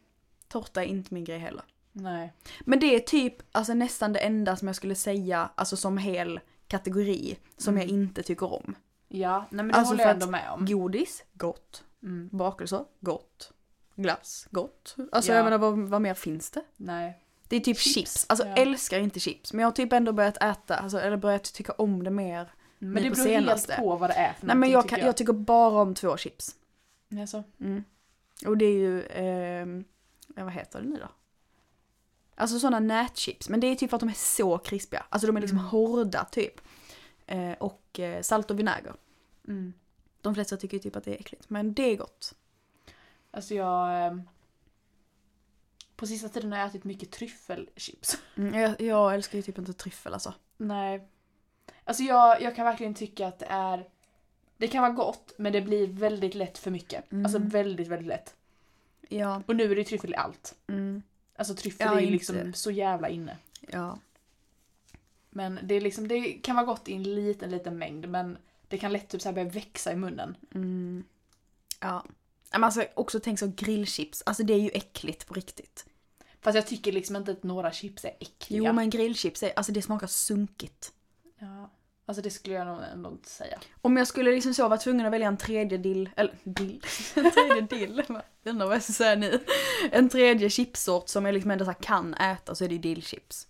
Speaker 1: Tårta är inte min grej heller.
Speaker 2: nej.
Speaker 1: Men det är typ alltså nästan det enda som jag skulle säga alltså som hel kategori som
Speaker 2: Mm.
Speaker 1: jag inte tycker om.
Speaker 2: Ja, nej men det
Speaker 1: Alltså
Speaker 2: håller
Speaker 1: för
Speaker 2: jag
Speaker 1: att-
Speaker 2: ändå med om.
Speaker 1: Godis, gott.
Speaker 2: Mm.
Speaker 1: Bakelser, gott. Glass, gott. Alltså
Speaker 2: Ja.
Speaker 1: jag menar vad, vad mer finns det?
Speaker 2: Nej.
Speaker 1: Det är typ chips.
Speaker 2: Chips,
Speaker 1: Alltså
Speaker 2: ja.
Speaker 1: älskar inte chips. Men jag har typ ändå börjat äta, alltså, eller börjat tycka om det mer.
Speaker 2: Men det
Speaker 1: på
Speaker 2: beror
Speaker 1: senaste.
Speaker 2: helt på vad det är för
Speaker 1: Nej men jag,
Speaker 2: någonting,
Speaker 1: kan, jag. tycker bara om två chips.
Speaker 2: jag. Alltså,
Speaker 1: Och det är ju, ehm, ja, vad heter det nu då? Alltså sådana nätchips. Men det är typ för att de är så krispiga. Alltså de är liksom
Speaker 2: Mm.
Speaker 1: hårda typ. Eh, och eh, salt och vinäger.
Speaker 2: mm.
Speaker 1: De flesta tycker ju typ att det är äckligt. Men det är gott.
Speaker 2: alltså jag... ehm, På sista tiden har jag ätit mycket tryffelchips.
Speaker 1: Mm, jag, jag älskar ju typ inte tryffel alltså.
Speaker 2: Nej. Alltså jag, jag kan verkligen tycka att det är... Det kan vara gott, men det blir väldigt lätt för mycket.
Speaker 1: Mm.
Speaker 2: Alltså väldigt, väldigt lätt.
Speaker 1: Ja.
Speaker 2: Och nu är det ju tryffel i allt.
Speaker 1: Mm,
Speaker 2: Alltså tryffel
Speaker 1: Ja,
Speaker 2: är ju
Speaker 1: inte.
Speaker 2: liksom så jävla inne.
Speaker 1: ja.
Speaker 2: Men det, är liksom, det kan vara gott i en liten, liten mängd, men det kan lätt typ så här börja växa i munnen.
Speaker 1: Mm. Ja. Men alltså också tänk så grillchips. Alltså det är ju äckligt på riktigt.
Speaker 2: Fast jag tycker liksom inte att några chips är äckliga.
Speaker 1: Jo men grillchips, är, alltså det smakar sunkigt.
Speaker 2: ja. Alltså det skulle jag nog ändå inte säga.
Speaker 1: Om jag skulle liksom så vara tvungen att välja en tredje dill, eller dill, en tredje dill, va? jag undrar vad jag ska säga nu. En tredje chipsort som jag liksom ändå så här kan äta så är det ju dillchips.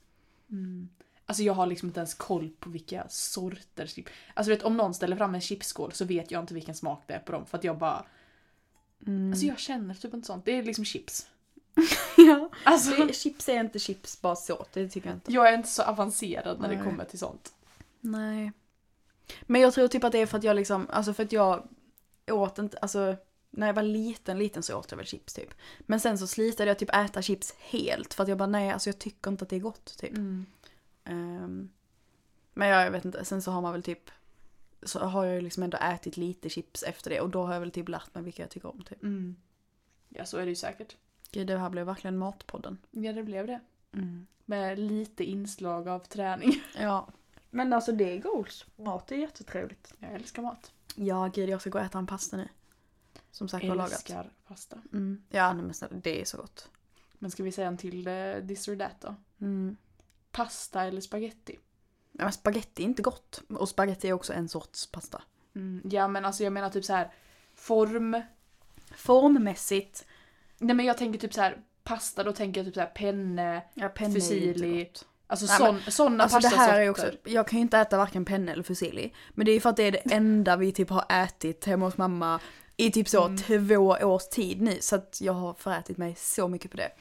Speaker 2: Alltså jag har liksom inte ens koll på vilka sorter chips. Alltså du vet om någon ställer fram en chipsskål så vet jag inte vilken smak det är på dem för att jag bara...
Speaker 1: Mm.
Speaker 2: Alltså jag känner typ inte sånt. Det är liksom chips.
Speaker 1: Ja.
Speaker 2: Alltså
Speaker 1: Chips är inte chips bara så, det tycker jag inte.
Speaker 2: jag är inte så avancerad när det
Speaker 1: Nej.
Speaker 2: kommer till sånt.
Speaker 1: Nej. Men jag tror typ att det är för att jag liksom, alltså för att jag åt inte, alltså när jag var liten, liten så åt jag väl chips typ. Men sen så slitade jag typ äta chips helt för att jag bara nej, alltså jag tycker inte att det är gott typ.
Speaker 3: Mm.
Speaker 1: Ehm, men jag, jag vet inte, sen så har man väl typ, så har jag ju liksom ändå ätit lite chips efter det och då har jag väl typ lärt mig vilka jag tycker om typ.
Speaker 2: Mm. Ja så är det ju säkert.
Speaker 1: Gud, det här blev verkligen matpodden.
Speaker 2: Ja det blev det.
Speaker 1: Mm.
Speaker 2: Med lite inslag av träning.
Speaker 1: Ja.
Speaker 3: Men alltså det är goals. Mat är jättetrevligt.
Speaker 2: Jag älskar mat.
Speaker 1: Ja gud jag ska gå och äta en pasta nu. Som sagt var lagat.
Speaker 2: Älskar pasta.
Speaker 1: Mm. Ja nej, men snälla, det är så gott.
Speaker 2: Men ska vi säga en till eh, this or that då?
Speaker 1: Mm.
Speaker 2: Pasta eller spaghetti?
Speaker 1: Ja, men spaghetti är inte gott. Och spaghetti är också en sorts pasta.
Speaker 2: Ja men alltså jag menar typ så här form.
Speaker 1: Formmässigt.
Speaker 2: Nej men jag tänker typ så här pasta då tänker jag typ så här penne.
Speaker 1: Ja penne är
Speaker 2: Fusilli.
Speaker 1: inte gott.
Speaker 2: Alltså
Speaker 1: Nej,
Speaker 2: sån, såna
Speaker 1: Alltså det här är också,
Speaker 2: pastasorter.
Speaker 1: jag kan ju inte äta varken penne eller fusilli. Men det är ju för att det är det enda vi typ har ätit hemma hos mamma i typ så två års tid nu. Så att jag har förätit mig så mycket på det.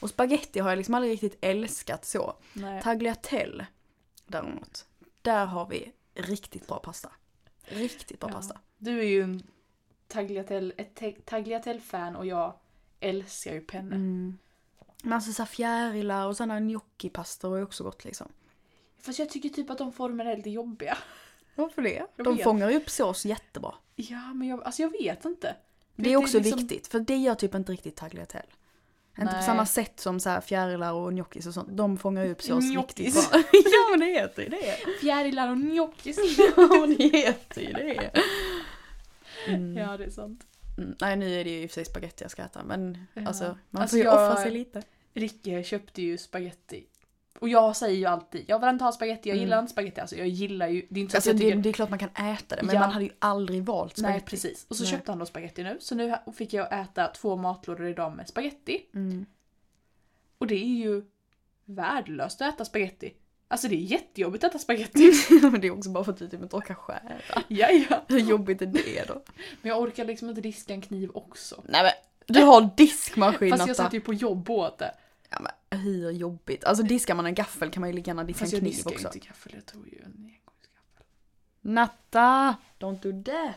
Speaker 1: Och spaghetti har jag liksom aldrig riktigt älskat så.
Speaker 2: Nej.
Speaker 1: Tagliatelle däremot, där har vi riktigt bra pasta. Riktigt bra
Speaker 2: Ja.
Speaker 1: pasta.
Speaker 2: Du är ju en tagliatelle, ett te- tagliatelle-fan och jag älskar ju penne.
Speaker 1: Mm. Men alltså så här fjärilar och sådana gnocchipastor är också gott liksom.
Speaker 2: Fast jag tycker typ att de formerna är lite jobbiga.
Speaker 1: Varför det?
Speaker 2: Jag
Speaker 1: De
Speaker 2: vet.
Speaker 1: fångar upp sås jättebra.
Speaker 2: Ja men jag, alltså jag vet inte.
Speaker 1: Det är också
Speaker 2: liksom-
Speaker 1: viktigt, för det gör typ inte riktigt tagliatelle. Inte på
Speaker 2: Nej.
Speaker 1: samma sätt som så här fjärilar och gnocchis och sånt. De fångar upp sås riktigt
Speaker 2: Gnocchis.
Speaker 1: bra. ja men det heter ju det.
Speaker 2: Fjärilar och gnocchis.
Speaker 1: Ja men det heter ju det. Mm.
Speaker 2: ja det är sant.
Speaker 1: Mm. Nej nu är det ju i och för sig spagetti jag ska äta men
Speaker 2: Ja.
Speaker 1: alltså man
Speaker 2: Alltså,
Speaker 1: får ju
Speaker 2: jag-
Speaker 1: offra sig lite.
Speaker 2: Ricke köpte ju spaghetti. Och jag säger ju alltid, jag vill inte ha spaghetti, jag
Speaker 1: Mm.
Speaker 2: gillar inte spaghetti. Alltså jag gillar ju, det är inte så
Speaker 1: Alltså
Speaker 2: att jag
Speaker 1: det,
Speaker 2: tycker...
Speaker 1: det är klart man kan äta det men
Speaker 2: Ja.
Speaker 1: man hade ju aldrig valt spagetti.
Speaker 2: Nej precis. Och så
Speaker 1: Nej.
Speaker 2: köpte han då spaghetti nu. Så nu ha- fick jag äta två matlådor idag med spaghetti.
Speaker 1: Mm.
Speaker 2: Och det är ju värdelöst att äta spaghetti. Alltså det är jättejobbigt att äta spaghetti.
Speaker 1: men det är också bara för att du typ inte orkar skära.
Speaker 2: ja, ja.
Speaker 1: Hur jobbigt är det då?
Speaker 2: Men jag orkar liksom inte diska en kniv också.
Speaker 1: Nej men du har diskmaskin
Speaker 2: Fast jag
Speaker 1: Natta.
Speaker 2: satt ju på jobb och åt det.
Speaker 1: Ja, men äh, hur jobbigt? Alltså diskar man en gaffel kan man ju lika gärna diska en
Speaker 2: Fast jag
Speaker 1: kniv
Speaker 2: diskar
Speaker 1: också.
Speaker 2: ju inte gaffel, jag tog ju en engångsgaffel.
Speaker 1: Natta! Don't do that!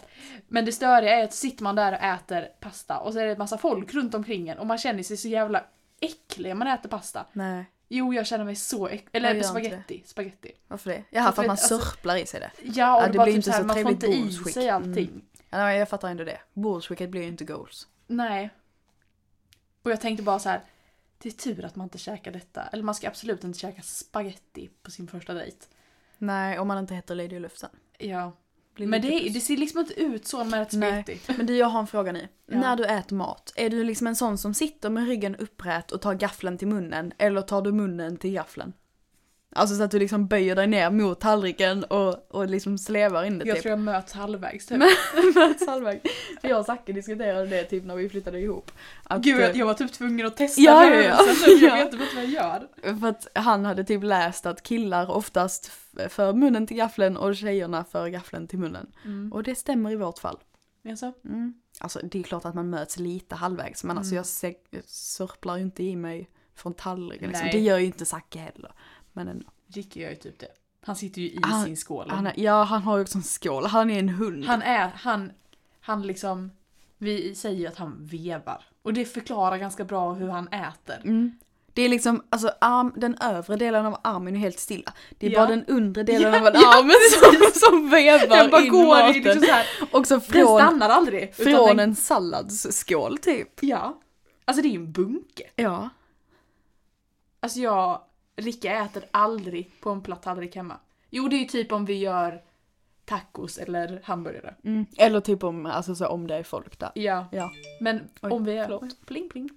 Speaker 2: Men det störiga är att sitter man där och äter pasta och så är det en massa folk runt omkring en och man känner sig så jävla äcklig när man äter pasta.
Speaker 1: Nej,
Speaker 2: Jo, jag känner mig så äcklig.
Speaker 1: Jag
Speaker 2: Eller
Speaker 1: gör inte
Speaker 2: spaghetti. Spaghetti.
Speaker 1: varför det? Jaha, för
Speaker 2: För
Speaker 1: att
Speaker 2: att,
Speaker 1: man
Speaker 2: alltså-
Speaker 1: sörplar i sig det.
Speaker 2: Ja, och
Speaker 1: Ja,
Speaker 2: det
Speaker 1: det
Speaker 2: bara
Speaker 1: blir
Speaker 2: typ
Speaker 1: inte
Speaker 2: så Mm. här,
Speaker 1: så
Speaker 2: man får
Speaker 1: trevligt
Speaker 2: inte i
Speaker 1: bonusskick.
Speaker 2: sig allting.
Speaker 1: Ja, nej, jag fattar ändå det. Bullswicket blir ju inte goals.
Speaker 2: Nej. Och jag tänkte bara så här. Det är tur att man inte käkar detta. Eller man ska absolut inte käka spaghetti på sin första dejt.
Speaker 1: Nej, om man inte heter Lady Lufsen.
Speaker 2: Ja.
Speaker 1: Blir
Speaker 2: men
Speaker 1: lite
Speaker 2: det,
Speaker 1: plus.
Speaker 2: det ser liksom inte ut så när man äter
Speaker 1: Nej.
Speaker 2: spagetti.
Speaker 1: Men du, jag har en fråga nu.
Speaker 2: Ja.
Speaker 1: När du äter mat, är du liksom en sån som sitter med ryggen upprät och tar gafflen till munnen? Eller tar du munnen till gafflen? Alltså så att du liksom böjer dig ner mot tallriken och, och liksom slevar in det
Speaker 2: Jag
Speaker 1: typ.
Speaker 2: tror jag möts halvvägs typ.
Speaker 1: Men- Mats Hallberg. För jag och Zacke diskuterade det typ när vi flyttade ihop. Att,
Speaker 2: Gud,
Speaker 1: eh,
Speaker 2: jag, jag var typ tvungen att testa
Speaker 1: Ja,
Speaker 2: den här
Speaker 1: ja, ja.
Speaker 2: rörelsen nu. Jag
Speaker 1: Ja.
Speaker 2: vet inte vad jag gör.
Speaker 1: För att han hade typ läst att killar oftast f- för munnen till gafflen och tjejerna för gafflen till munnen.
Speaker 2: Mm.
Speaker 1: Och det stämmer i vårt fall.
Speaker 2: Jaså?
Speaker 1: Mm. Alltså det är klart att man möts lite halvvägs men alltså jag se- sörplar ju inte i mig från tallriken liksom.
Speaker 2: Nej.
Speaker 1: Det gör ju inte Zacke heller. Men ändå.
Speaker 2: Ricky gör ju typ det. Han sitter ju i
Speaker 1: Han-
Speaker 2: sin skål.
Speaker 1: Han är, ja han har ju också en skål, han är en hund.
Speaker 2: Han är, han, han liksom, vi säger ju att han vevar. Och det förklarar ganska bra hur han äter.
Speaker 1: Mm. Det är liksom, alltså arm, den övre delen av armen är helt stilla. Det är
Speaker 2: Ja.
Speaker 1: bara den undre delen
Speaker 2: Ja,
Speaker 1: av en
Speaker 2: ja,
Speaker 1: arm som, som
Speaker 2: Den
Speaker 1: vevar
Speaker 2: bara
Speaker 1: in
Speaker 2: går i
Speaker 1: maten.
Speaker 2: liksom såhär,
Speaker 1: Också
Speaker 2: den
Speaker 1: från,
Speaker 2: stannar aldrig. utan
Speaker 1: från
Speaker 2: den,
Speaker 1: en salladsskål typ.
Speaker 2: Ja. Alltså det är ju en bunke.
Speaker 1: Ja.
Speaker 2: Alltså jag, Ricka äter aldrig på en platt tallrik hemma. Jo det är ju typ om vi gör tacos eller hamburgare.
Speaker 1: Mm. Eller typ om, alltså så om det är folk där.
Speaker 2: Ja.
Speaker 1: Ja.
Speaker 2: Men
Speaker 1: Oj,
Speaker 2: om vi är...
Speaker 1: förlåt.
Speaker 2: Pling, pling.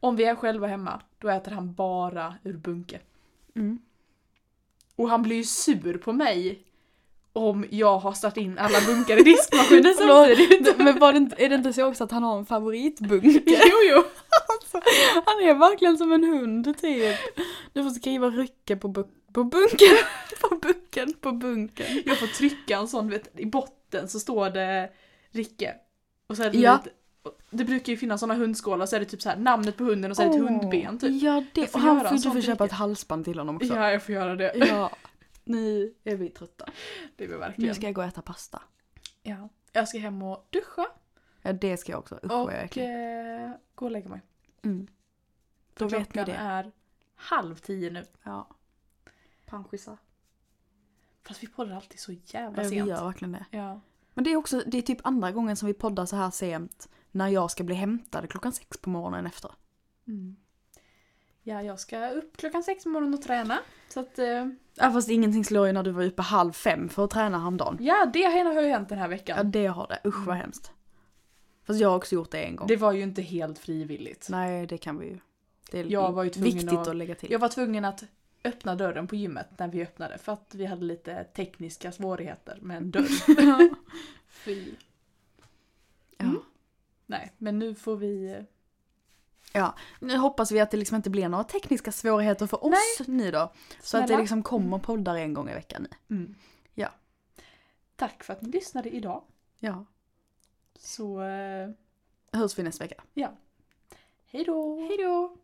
Speaker 2: Om vi är själva hemma, då äter han bara ur bunke.
Speaker 1: Mm.
Speaker 2: Och han blir ju sur på mig om jag har satt in alla bunkar i diskmaskinen samtidigt.
Speaker 1: Men var det inte, är det inte så också att han har en favoritbunke?
Speaker 2: Jo, jo.
Speaker 1: Han är verkligen som en hund typ. Du får skriva rycke på, bu- på bunken. på bunken, på bunken.
Speaker 2: Jag får trycka en sån, vet, i botten så står det Ricke. Och så är det,
Speaker 1: Ja.
Speaker 2: lite- och det brukar ju finnas såna hundskålar, så är det typ så här, namnet på hunden och så är det ett
Speaker 1: Åh.
Speaker 2: hundben typ.
Speaker 1: Ja, det,
Speaker 2: Jag får
Speaker 1: och han
Speaker 2: göra en
Speaker 1: får, du
Speaker 2: sån
Speaker 1: får
Speaker 2: till
Speaker 1: köpa ett
Speaker 2: Rickard.
Speaker 1: halsband till honom också.
Speaker 2: Ja, jag får göra det.
Speaker 1: Ja, nu är vi trötta.
Speaker 2: Det blir
Speaker 1: Nu
Speaker 2: verkligen.
Speaker 1: ska jag gå och äta pasta.
Speaker 2: Ja. Jag ska hem och duscha
Speaker 1: Ja, det ska jag också. Usch vad
Speaker 2: och
Speaker 1: jag är äcklig.
Speaker 2: eh, gå och lägga mig.
Speaker 1: Mm. Då vet ni
Speaker 2: Klockan
Speaker 1: det.
Speaker 2: är halv tio nu.
Speaker 1: Ja. Panschisa.
Speaker 2: Fast vi poddar alltid så jävla
Speaker 1: Vi
Speaker 2: sent.
Speaker 1: gör verkligen det.
Speaker 2: Ja.
Speaker 1: Men det är också, det är typ andra gången som vi poddar så Mm. här sent. När jag ska bli hämtad klockan sex på morgonen efter.
Speaker 2: Ja, jag ska upp klockan sex på morgonen och träna. Så att, eh,
Speaker 1: Ja, fast ingenting slår ju när du var uppe halv fem för att träna häromdagen.
Speaker 2: ja, det har ju hänt den här
Speaker 1: Ja,
Speaker 2: veckan.
Speaker 1: det har det. Usch vad hemskt. Fast jag har också gjort det en gång.
Speaker 2: Mm. Det var ju inte helt frivilligt.
Speaker 1: Nej, det kan vi ju. Det är
Speaker 2: Jag var ju tvungen
Speaker 1: viktigt
Speaker 2: att-
Speaker 1: att... lägga till.
Speaker 2: Jag var tvungen att öppna dörren på gymmet när vi öppnade för att vi hade lite tekniska svårigheter med en dörr. Fy. Mm.
Speaker 1: Ja.
Speaker 2: Nej, men nu får vi... eh,
Speaker 1: Nu hoppas vi att det liksom inte blir några tekniska svårigheter för oss nu då. Så att det
Speaker 2: snälla.
Speaker 1: liksom kommer poddar en gång i veckan. nu.
Speaker 2: Mm.
Speaker 1: Ja.
Speaker 2: Tack för att ni lyssnade idag.
Speaker 1: Ja.
Speaker 2: Så eh,
Speaker 1: Hörs vi nästa vecka.
Speaker 2: hej då! Hej då!